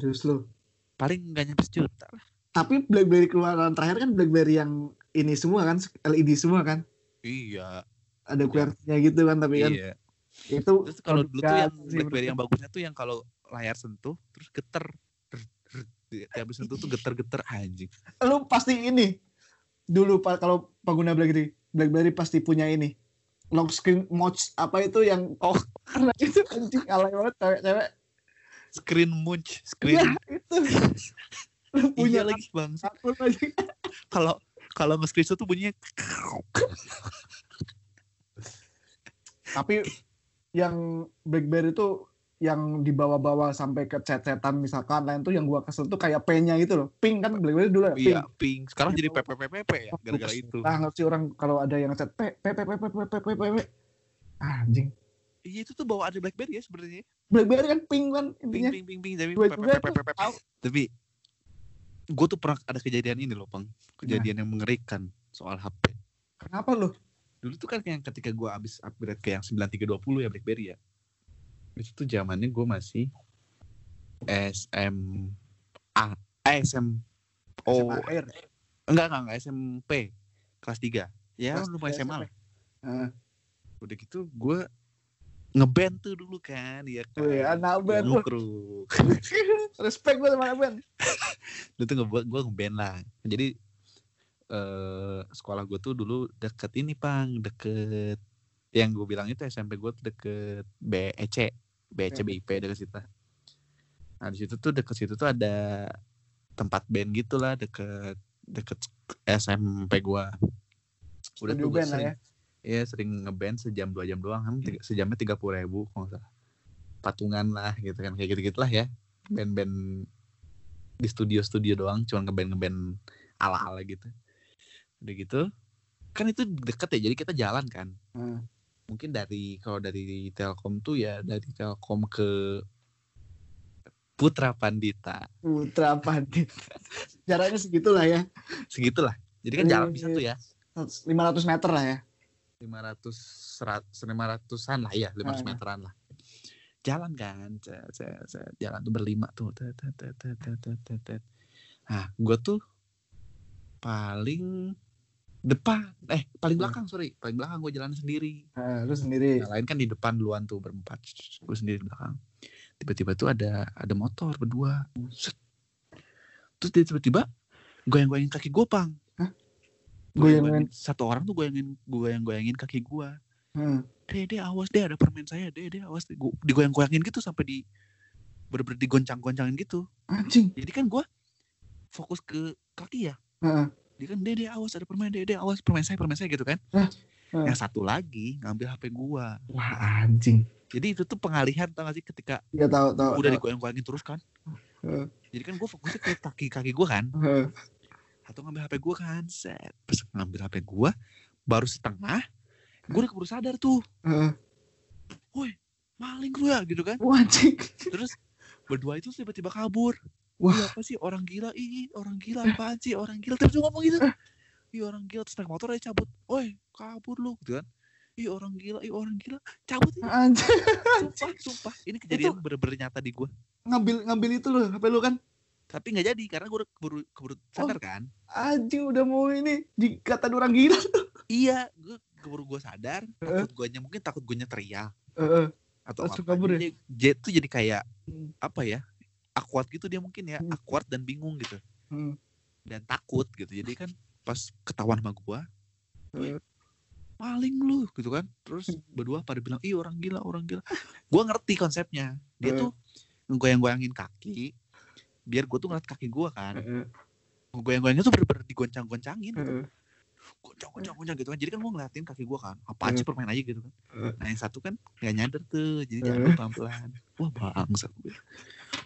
Speaker 2: Terus lo.
Speaker 1: Paling nggak nyampe sejuta lah.
Speaker 2: Tapi BlackBerry keluaran terakhir kan BlackBerry yang ini semua kan LED semua kan.
Speaker 1: Iya,
Speaker 2: ada
Speaker 1: Iya.
Speaker 2: QWERTY-nya gitu kan tapi kan
Speaker 1: iya.
Speaker 2: itu
Speaker 1: Terus kalau dulu tuh yang
Speaker 2: produk
Speaker 1: BlackBerry
Speaker 2: sih,
Speaker 1: yang bagusnya tuh yang kalau layar sentuh terus geter. Rrrt, rrrt. Tiap habis sentuh tuh geter-geter anjing.
Speaker 2: lu pasti ini dulu Pak, kalau pengguna BlackBerry BlackBerry pasti punya ini lock screen mods apa itu yang oh karena itu anjing alay banget cewek-cewek
Speaker 1: Screen munch, screen.
Speaker 2: ya itu lu punya
Speaker 1: Iya lagi bang.
Speaker 2: satu lagi
Speaker 1: Kalau kalau nge-screen tuh bunyinya
Speaker 2: tapi yang BlackBerry itu yang dibawa-bawa sampai ke cet-cetan misalkan lain tuh yang gua kesel tuh kayak P-nya gitu loh pink kan BlackBerry dulu ya pink
Speaker 1: iya pink. Sekarang jadi PPPPP ya gara-gara itu.
Speaker 2: Nah, ngerti orang kalau ada yang chat pe pe pe pe pe pe pe pe pe. Ah, Anjing.
Speaker 1: Iya itu tuh bawa ada BlackBerry ya sebenarnya.
Speaker 2: BlackBerry kan ping kan
Speaker 1: Ping
Speaker 2: intinya.
Speaker 1: ping ping ping tapi
Speaker 2: Gua juga tuh
Speaker 1: PPPPP.
Speaker 2: tahu.
Speaker 1: Tapi gue tuh pernah ada kejadian ini loh peng kejadian yang mengerikan soal HP
Speaker 2: Kenapa lu?
Speaker 1: dulu tuh kan yang ketika gue abis upgrade ke yang 9320 ya BlackBerry ya itu tuh zamannya gue masih SMA eh, SMO Oh,
Speaker 2: SMA air.
Speaker 1: enggak enggak enggak SMP kelas 3 ya
Speaker 2: Kelas
Speaker 1: lu
Speaker 2: tiga
Speaker 1: SMA lah
Speaker 2: Heeh.
Speaker 1: udah gitu gue ngeband tuh dulu kan ya kan
Speaker 2: Wih, anak band. Wih,
Speaker 1: Ngekruk.
Speaker 2: (laughs) Respect gue sama anak band.
Speaker 1: Dulu tuh ngebuat gue ngeband lah jadi eh sekolah gue tuh dulu deket ini pang deket yang gue bilang itu SMP gue tuh deket E BEC BEC
Speaker 2: Hmm.
Speaker 1: BIP deket situ nah di situ tuh deket situ tuh ada tempat band gitulah deket deket SMP gue udah
Speaker 2: Studio
Speaker 1: tuh gue
Speaker 2: band lah
Speaker 1: sering
Speaker 2: ya. Hmm.
Speaker 1: Iya sering ngeband sejam dua jam doang, kan tiga- sejamnya tiga puluh ribu kalau nggak salah. Patungan lah gitu kan kayak gitu gitulah ya. Band-band di studio-studio doang, cuman ngeband ngeband ala-ala gitu. Udah gitu, kan itu deket ya, jadi kita jalan kan.
Speaker 2: Heeh.
Speaker 1: Mungkin dari kalau dari Telkom tuh ya dari Telkom ke Putra Pandita,
Speaker 2: Putra Pandit. Jaraknya segitulah ya.
Speaker 1: segitulah. Jadi kan jalan bisa tuh ya.
Speaker 2: 500 meter lah ya.
Speaker 1: 500 serat- 500-an lah ya, 500
Speaker 2: Ah.
Speaker 1: meteran lah. Jalan kan, cet, cet, cet. jalan tuh berlima tuh. tet, tet, tet, tet, tet, tet, tet, tet. Nah, gue tuh paling depan, eh paling
Speaker 2: Hmm.
Speaker 1: belakang sorry, paling belakang gue jalan sendiri.
Speaker 2: Heeh, Nah, lu sendiri.
Speaker 1: Yang lain kan di depan duluan tuh berempat, gue sendiri di belakang. Tiba-tiba tuh ada ada motor berdua. Set. Terus dia tiba-tiba goyang-goyangin kaki gue pang.
Speaker 2: Hah?
Speaker 1: Goyang-goyangin satu orang tuh goyangin goyang-goyangin kaki gue
Speaker 2: Heeh.
Speaker 1: deh deh awas deh ada permen saya deh deh awas deh. Gua- digoyang-goyangin gitu sampai di bener-bener digoncang-goncangin gitu
Speaker 2: Anjing.
Speaker 1: jadi kan gua fokus ke kaki ya
Speaker 2: Heeh.
Speaker 1: dia kan deh deh awas ada permen deh deh awas permen saya permen saya gitu kan
Speaker 2: Hah? Hah.
Speaker 1: yang satu lagi ngambil hp gua
Speaker 2: Wah, anjing.
Speaker 1: jadi itu tuh pengalihan tau gak sih ketika
Speaker 2: Iya tahu tahu.
Speaker 1: udah
Speaker 2: tahu.
Speaker 1: digoyang-goyangin terus kan
Speaker 2: Hah.
Speaker 1: jadi kan gua fokusnya ke kaki kaki gua kan
Speaker 2: Heeh.
Speaker 1: atau ngambil hp gua kan set Pas ngambil hp gua baru setengah gua udah keburu sadar tuh
Speaker 2: Heeh.
Speaker 1: maling lu ya gitu kan
Speaker 2: Wah, anjing.
Speaker 1: Terus berdua itu tiba-tiba kabur.
Speaker 2: Wah.
Speaker 1: Wah, apa sih orang gila? Ih, ih, orang gila apaan sih? Orang gila terus dia ngomong gitu. Ih, orang gila terus naik motor aja cabut. Woi, kabur lu gitu kan. Ih, orang gila, ih orang gila. Cabut ih.
Speaker 2: Anjing.
Speaker 1: Sumpah, sumpah. Ini kejadian bener-bener nyata di gua.
Speaker 2: Ngambil ngambil itu lu, HP lu kan.
Speaker 1: Tapi nggak jadi karena gua udah keburu
Speaker 2: Oh.
Speaker 1: keburu sadar kan.
Speaker 2: Anjing udah mau ini dikata orang gila.
Speaker 1: Iya, gua keburu gua sadar, takut guanya mungkin takut guanya teriak
Speaker 2: Heeh.
Speaker 1: atau
Speaker 2: Langsung
Speaker 1: apa.
Speaker 2: kabur ya?
Speaker 1: Jadi dia tuh jadi kayak
Speaker 2: Hmm.
Speaker 1: apa ya? Akuat gitu dia mungkin ya,
Speaker 2: Hmm.
Speaker 1: akuat dan bingung gitu.
Speaker 2: Heeh.
Speaker 1: dan takut gitu jadi kan pas ketahuan sama gua "Wih, maling lu gitu kan terus
Speaker 2: Hmm.
Speaker 1: berdua pada bilang ih orang gila orang gila gua ngerti konsepnya dia
Speaker 2: Eh.
Speaker 1: tuh ngegoyang-goyangin kaki biar gua tuh ngeliat kaki gua kan
Speaker 2: Heeh.
Speaker 1: goyang-goyangnya tuh bener-bener digoncang-goncangin
Speaker 2: Heeh.
Speaker 1: goncang
Speaker 2: Hmm.
Speaker 1: goncang goncang gitu kan jadi kan gua ngeliatin kaki gua kan apaan sih permain aja gitu kan
Speaker 2: Eh.
Speaker 1: nah yang satu kan nggak nyadar tuh jadi
Speaker 2: Eh.
Speaker 1: jalan pelan pelan wah bangsat gue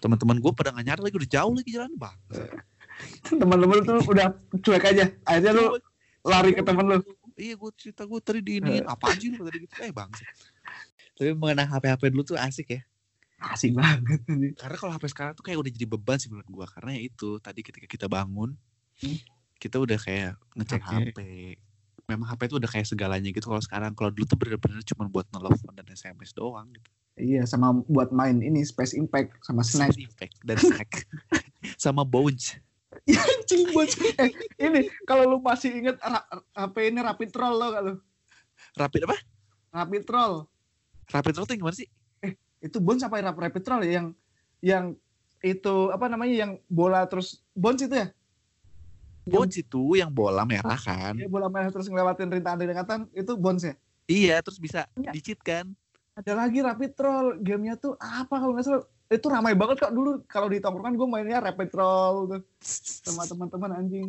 Speaker 1: teman-teman gua pada nggak nyadar lagi udah jauh lagi jalan bang
Speaker 2: Eh, Teman-teman tuh udah cuek aja. Akhirnya lu lari ke temen lu.
Speaker 1: iya gue cerita gue tadi di ini apa aja lu tadi gitu eh bang tapi mengenang HP HP dulu tuh asik ya
Speaker 2: Asik banget anjing.
Speaker 1: karena kalau HP sekarang tuh kayak udah jadi beban sih menurut gue karena ya itu tadi ketika kita bangun
Speaker 2: Hmm.
Speaker 1: kita udah kayak ngecek
Speaker 2: Oke.
Speaker 1: HP memang HP itu udah kayak segalanya gitu kalau sekarang kalau dulu tuh bener-bener cuma buat nelfon dan SMS doang gitu
Speaker 2: Iya, sama buat main ini Space Impact sama
Speaker 1: (laughs)
Speaker 2: Snack.
Speaker 1: Sound effect dan snack sama bounce
Speaker 2: Anjing buat (laughs) eh, ini kalau lu masih inget ra- HP ini Rapid Troll lo kalau
Speaker 1: rapid apa
Speaker 2: Rapid Troll
Speaker 1: rapid itu gimana sih
Speaker 2: itu Bones apa Rap- Rapid Troll ya yang yang itu apa namanya yang bola terus Bones itu
Speaker 1: Hmm.
Speaker 2: ya?
Speaker 1: bounce itu yang bola merah kan
Speaker 2: Iya bola merah terus ngelewatin rintangan-rintangan itu Bones ya.
Speaker 1: iya terus bisa
Speaker 2: Iya.
Speaker 1: dicit kan
Speaker 2: Ada lagi Rapid Troll, gamenya tuh apa kalau nggak salah itu ramai banget kak dulu kalau di tongkrongan gue mainnya Rapid Troll tuh sama teman-teman anjing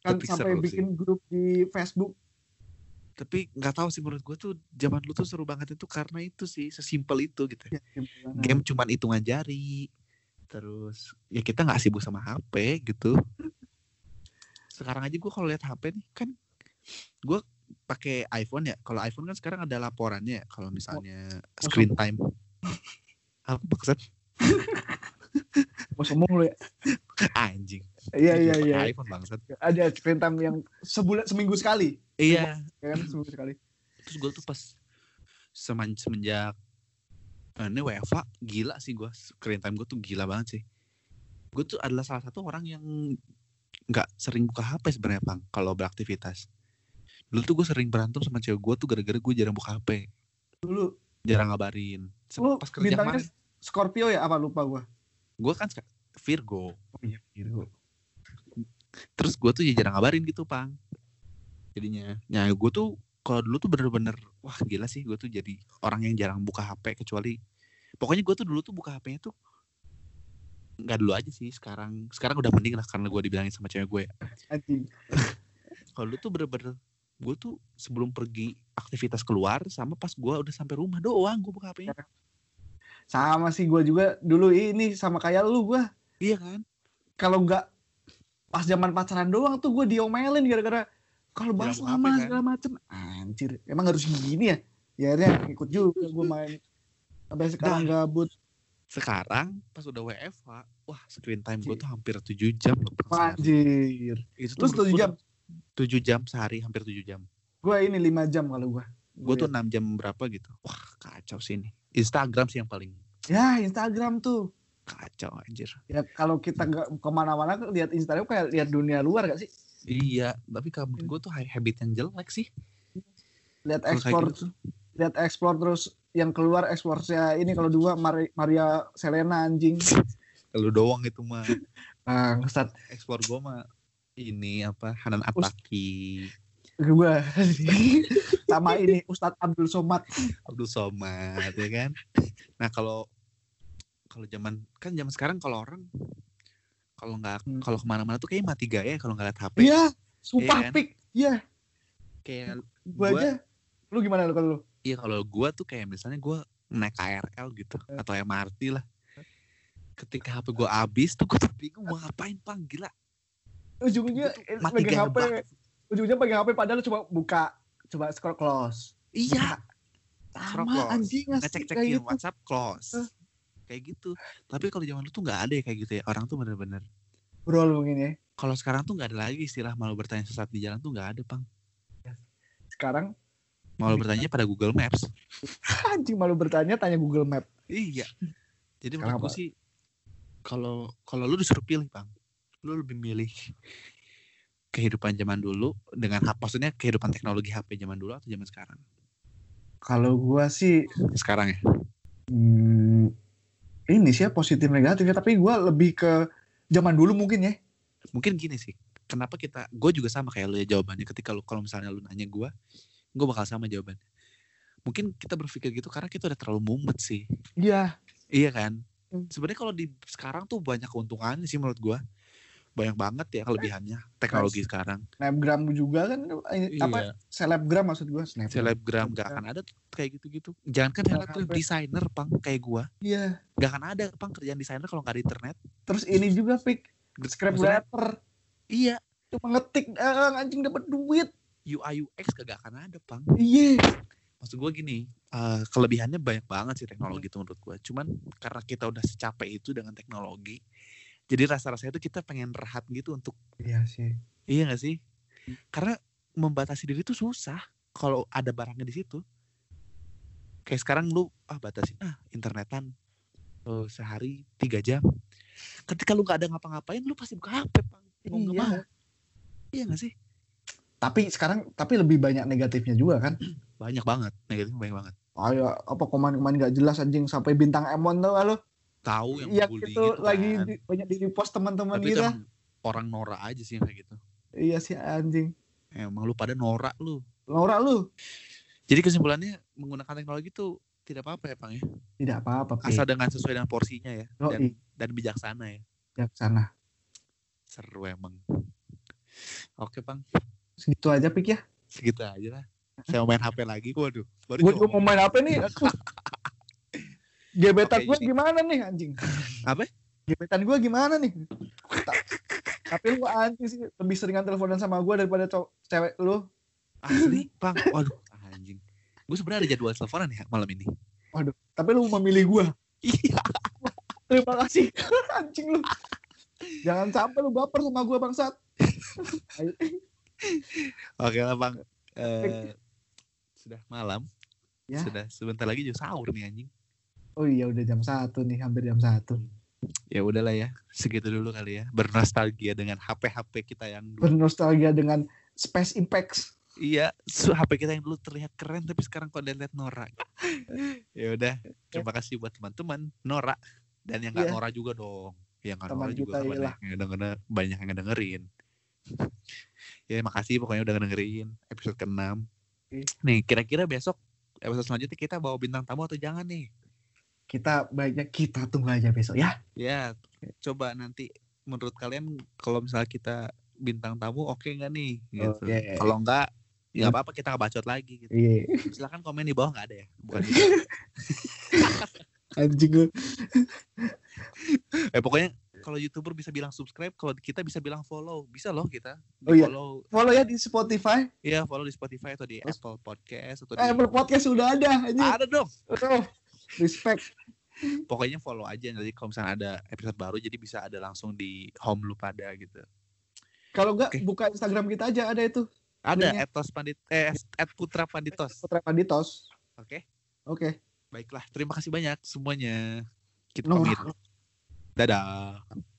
Speaker 2: kan
Speaker 1: Tapi seru
Speaker 2: sampai
Speaker 1: sih.
Speaker 2: bikin grup di Facebook
Speaker 1: tapi nggak tahu sih menurut gue tuh zaman dulu tuh seru banget itu karena itu sih sesimpel itu gitu
Speaker 2: ya,
Speaker 1: game cuman hitungan jari terus ya kita nggak sibuk sama HP gitu sekarang aja gue kalau lihat HP nih kan gue pakai iPhone ya kalau iPhone kan sekarang ada laporannya ya, kalau misalnya screen
Speaker 2: (laughs)
Speaker 1: time apa maksud
Speaker 2: mau sombong lu ya
Speaker 1: (laughs) Anjing.
Speaker 2: Iya iya iya.
Speaker 1: iPhone bangsat.
Speaker 2: Ada screen time yang sebulan seminggu sekali,
Speaker 1: Iya.
Speaker 2: ya kan seminggu sekali.
Speaker 1: Terus gue tuh pas seman- semenjak eh, ini WFA gila sih gue screen time gue tuh gila banget sih. Gue tuh adalah salah satu orang yang nggak sering buka HP sebenarnya bang kalau beraktivitas. Dulu tuh gue sering berantem sama cewek gue tuh gara-gara gue jarang buka HP,
Speaker 2: Dulu
Speaker 1: jarang ngabarin. Se-
Speaker 2: lu
Speaker 1: Pas kerja
Speaker 2: bintangnya
Speaker 1: kemarin,
Speaker 2: Scorpio ya apa lupa gua.
Speaker 1: gue kan suka- Virgo.
Speaker 2: Oh iya, gitu.
Speaker 1: terus gue tuh ya jarang ngabarin gitu pang jadinya ya gue tuh kalau dulu tuh bener-bener wah gila sih gue tuh jadi orang yang jarang buka hp kecuali pokoknya gue tuh dulu tuh buka hpnya tuh nggak dulu aja sih sekarang sekarang udah mending lah karena gue dibilangin sama cewek gue
Speaker 2: Anjing.
Speaker 1: kalau dulu tuh bener-bener gue tuh sebelum pergi aktivitas keluar sama pas gue udah sampai rumah doang gue buka hpnya
Speaker 2: Sama sih gua juga dulu ini sama kayak lu gua.
Speaker 1: iya kan
Speaker 2: Kalau nggak pas zaman pacaran doang tuh gua diomelin gara-gara kalau bahas
Speaker 1: Jarang buka
Speaker 2: lama
Speaker 1: HP, kan?
Speaker 2: segala macem. Anjir, emang harus gini ya? Ya akhirnya ikut juga gua main. Sampai sekarang gabut.
Speaker 1: sekarang pas udah WFH wah screen time gue tuh hampir 7 jam loh Pang, sehari.
Speaker 2: Anjir.
Speaker 1: itu
Speaker 2: Lu
Speaker 1: tuh menurut
Speaker 2: 7
Speaker 1: gua
Speaker 2: jam.
Speaker 1: 7 jam sehari hampir 7 jam
Speaker 2: Gua ini 5 jam kalau gua.
Speaker 1: gue tuh 6 jam berapa gitu wah kacau sih ini Instagram sih yang paling
Speaker 2: ya Instagram tuh.
Speaker 1: kacau anjir
Speaker 2: Ya kalau kita nggak kemana-mana lihat Instagram kayak lihat dunia luar gak sih?
Speaker 1: iya tapi kamu gue tuh ha- habit yang jelek sih
Speaker 2: Lihat
Speaker 1: Kalau kayak
Speaker 2: ekspor
Speaker 1: gitu tuh.
Speaker 2: lihat explore terus yang keluar explore-nya ini kalau dua Mari- Maria Selena anjing
Speaker 1: lu doang itu (laughs) mah Ah,
Speaker 2: bangsat
Speaker 1: ekspor gue mah ini apa Hanan Ataki
Speaker 2: gua (laughs) sama ini Ustadz Abdul Somad
Speaker 1: Abdul Somad ya kan nah kalau kalau zaman kan zaman sekarang kalau orang kalau nggak
Speaker 2: Hmm.
Speaker 1: kalau kemana-mana tuh kayak mati gaya ya kalau nggak liat HP
Speaker 2: iya sumpah
Speaker 1: Iya kan?
Speaker 2: pik iya
Speaker 1: kayak Gua-
Speaker 2: gua, aja lu gimana lu kalau lu
Speaker 1: Iya kalau gua tuh kayak misalnya gua naik KRL gitu atau MRT lah. Ketika HP gua habis tuh gua tuh bingung mau ngapain pang gila.
Speaker 2: ujungnya eh,
Speaker 1: mati gaya
Speaker 2: pegang HP ujungnya pegang HP padahal cuma buka coba scroll close
Speaker 1: Iya,
Speaker 2: sama
Speaker 1: Scroll close.
Speaker 2: anjing asli kayak
Speaker 1: ngecek-cekin
Speaker 2: gitu
Speaker 1: WhatsApp
Speaker 2: Eh.
Speaker 1: close. Kayak gitu. Tapi kalau zaman lu tuh nggak ada ya kayak gitu ya. Orang tuh bener-bener.
Speaker 2: bro lu mungkin ya
Speaker 1: Kalau sekarang tuh nggak ada lagi istilah malu bertanya sesat di jalan tuh nggak ada pang.
Speaker 2: sekarang
Speaker 1: Malu bertanya pada Google Maps.
Speaker 2: anjing malu bertanya tanya Google Map
Speaker 1: Iya. Jadi
Speaker 2: Sekarang
Speaker 1: menurut gua
Speaker 2: apa?
Speaker 1: sih kalau kalau lu disuruh pilih, Bang. Lu lebih milih kehidupan zaman dulu dengan hap- maksudnya kehidupan teknologi HP zaman dulu atau zaman sekarang?
Speaker 2: kalau gua sih
Speaker 1: Sekarang ya.
Speaker 2: Hmm, ini sih ya positif negatif ya, tapi gua lebih ke zaman dulu mungkin ya.
Speaker 1: Mungkin gini sih. Kenapa kita gue juga sama kayak lu ya jawabannya ketika lu kalau misalnya lu nanya gua, gue bakal sama jawabannya. Mungkin kita berpikir gitu karena kita udah terlalu mumet sih.
Speaker 2: Iya.
Speaker 1: Iya kan?
Speaker 2: Hmm.
Speaker 1: Sebenarnya kalau di sekarang tuh banyak keuntungannya sih menurut gua. Banyak banget ya kelebihannya teknologi sekarang.
Speaker 2: Snapgram juga kan eh,
Speaker 1: Iya.
Speaker 2: apa selebgram maksud gua snapgram.
Speaker 1: selebgram gak akan ada tuh kayak gitu-gitu jangan kan
Speaker 2: Iya. Nggak
Speaker 1: tuh
Speaker 2: ada.
Speaker 1: desainer pang kayak gua
Speaker 2: Iya.
Speaker 1: gak akan ada pang kerjaan desainer kalau nggak ada internet
Speaker 2: Terus ini juga pick
Speaker 1: Maksudnya,
Speaker 2: scrapwriter
Speaker 1: iya
Speaker 2: cuma ngetik doang anjing dapat duit.
Speaker 1: UI UX kagak akan ada pang
Speaker 2: Iya.
Speaker 1: maksud gua gini eh, kelebihannya banyak banget sih
Speaker 2: Iya.
Speaker 1: teknologi itu menurut gua cuman karena kita udah secapek itu dengan teknologi jadi rasa-rasanya itu kita pengen rehat gitu untuk
Speaker 2: Iya sih.
Speaker 1: iya gak sih karena membatasi diri itu susah kalau ada barangnya di situ kayak sekarang lu ah batasin ah internetan Eh, sehari tiga jam ketika lu nggak ada ngapa-ngapain lu pasti buka hp pang mau Oh, nggak
Speaker 2: Iya.
Speaker 1: mau iya nggak sih
Speaker 2: Tapi sekarang tapi lebih banyak negatifnya juga kan.
Speaker 1: banyak banget negatifnya banyak banget
Speaker 2: Ayo apa komen-komen gak jelas anjing sampai bintang Emon tuh lu.
Speaker 1: tahu Oh, yang
Speaker 2: Iya
Speaker 1: bullying
Speaker 2: itu
Speaker 1: itu
Speaker 2: lagi
Speaker 1: kan.
Speaker 2: di- banyak di repost teman-teman
Speaker 1: tapi itu
Speaker 2: kita.
Speaker 1: emang orang norak aja sih yang kayak gitu
Speaker 2: Iya sih anjing.
Speaker 1: emang lu pada norak lu
Speaker 2: Laura lu
Speaker 1: jadi kesimpulannya menggunakan teknologi itu tidak apa-apa ya pang
Speaker 2: Iya.
Speaker 1: ya
Speaker 2: tidak apa-apa. Pik.
Speaker 1: asal dengan sesuai dengan porsinya ya
Speaker 2: Yoi.
Speaker 1: dan dan bijaksana ya
Speaker 2: ya ke sana.
Speaker 1: seru emang oke pang
Speaker 2: Segitu aja pik ya.
Speaker 1: segitu aja lah saya mau main HP lagi waduh baru
Speaker 2: Gue juga
Speaker 1: coba
Speaker 2: mau main apa nih? (laughs) Gebetan
Speaker 1: Oke,
Speaker 2: gue
Speaker 1: ini.
Speaker 2: gimana nih anjing?
Speaker 1: Apa?
Speaker 2: Gebetan gue gimana nih? Ta- Tapi lu anjing sih lebih seringan teleponan sama gue daripada cow- cewek lu.
Speaker 1: asli pang waduh anjing gue sebenarnya ada jadwal teleponan ya malam ini
Speaker 2: Tapi lu memilih gue. (laughs)
Speaker 1: iya
Speaker 2: Terima kasih (laughs) anjing lu. Jangan sampai lu baper sama gua bangsat.
Speaker 1: Oke lah bang. Eh, sudah malam.
Speaker 2: Ya.
Speaker 1: Sudah sebentar lagi juga sahur nih anjing.
Speaker 2: Oh iya udah jam satu nih, hampir jam satu.
Speaker 1: Ya udahlah ya. Segitu dulu kali ya. Bernostalgia dengan HP-HP kita yang dulu.
Speaker 2: Bernostalgia dengan Space Impacts.
Speaker 1: Iya, su- HP kita yang dulu terlihat keren tapi sekarang kok dilihat Nora. gitu.
Speaker 2: (laughs)
Speaker 1: ya udah, terima kasih buat teman-teman Nora dan yang nggak
Speaker 2: Iya.
Speaker 1: Nora juga dong. Yang nggak
Speaker 2: Teman
Speaker 1: Nora juga
Speaker 2: kita,
Speaker 1: kan banyak yang denger- banyak yang dengerin. (laughs) ya makasih pokoknya udah dengerin episode ke-6.
Speaker 2: Oke.
Speaker 1: Nih, kira-kira besok episode selanjutnya kita bawa bintang tamu atau jangan nih?
Speaker 2: Kita banyak kita tunggu aja besok ya.
Speaker 1: Ya, coba nanti menurut kalian kalau misalnya kita bintang tamu oke nggak nih?
Speaker 2: Oh,
Speaker 1: Gitu.
Speaker 2: Oke.
Speaker 1: Kalau nggak, ya nggak apa-apa kita ngebacot lagi gitu.
Speaker 2: Iya.
Speaker 1: silahkan komen di bawah nggak ada ya
Speaker 2: (laughs)
Speaker 1: bukan
Speaker 2: Anjing lu.
Speaker 1: eh pokoknya kalau youtuber bisa bilang subscribe kalau kita bisa bilang follow bisa loh kita Di
Speaker 2: Oh iya.
Speaker 1: follow
Speaker 2: Follow ya di Spotify.
Speaker 1: ya follow di Spotify atau di
Speaker 2: Terus-
Speaker 1: Apple Podcast atau di
Speaker 2: Eh, berpodcast udah ada anjing.
Speaker 1: ada dong
Speaker 2: Oh, respect.
Speaker 1: pokoknya follow aja nanti kalau misalnya ada episode baru jadi bisa ada langsung di home lu pada gitu
Speaker 2: Kalau enggak
Speaker 1: Oke.
Speaker 2: buka Instagram kita aja ada itu.
Speaker 1: ada
Speaker 2: Linknya.
Speaker 1: etos pandit eh at putra panditos oke
Speaker 2: Putra Panditos. Oke.
Speaker 1: Oh, baiklah terima kasih banyak semuanya kita
Speaker 2: Nora.
Speaker 1: pamit dadah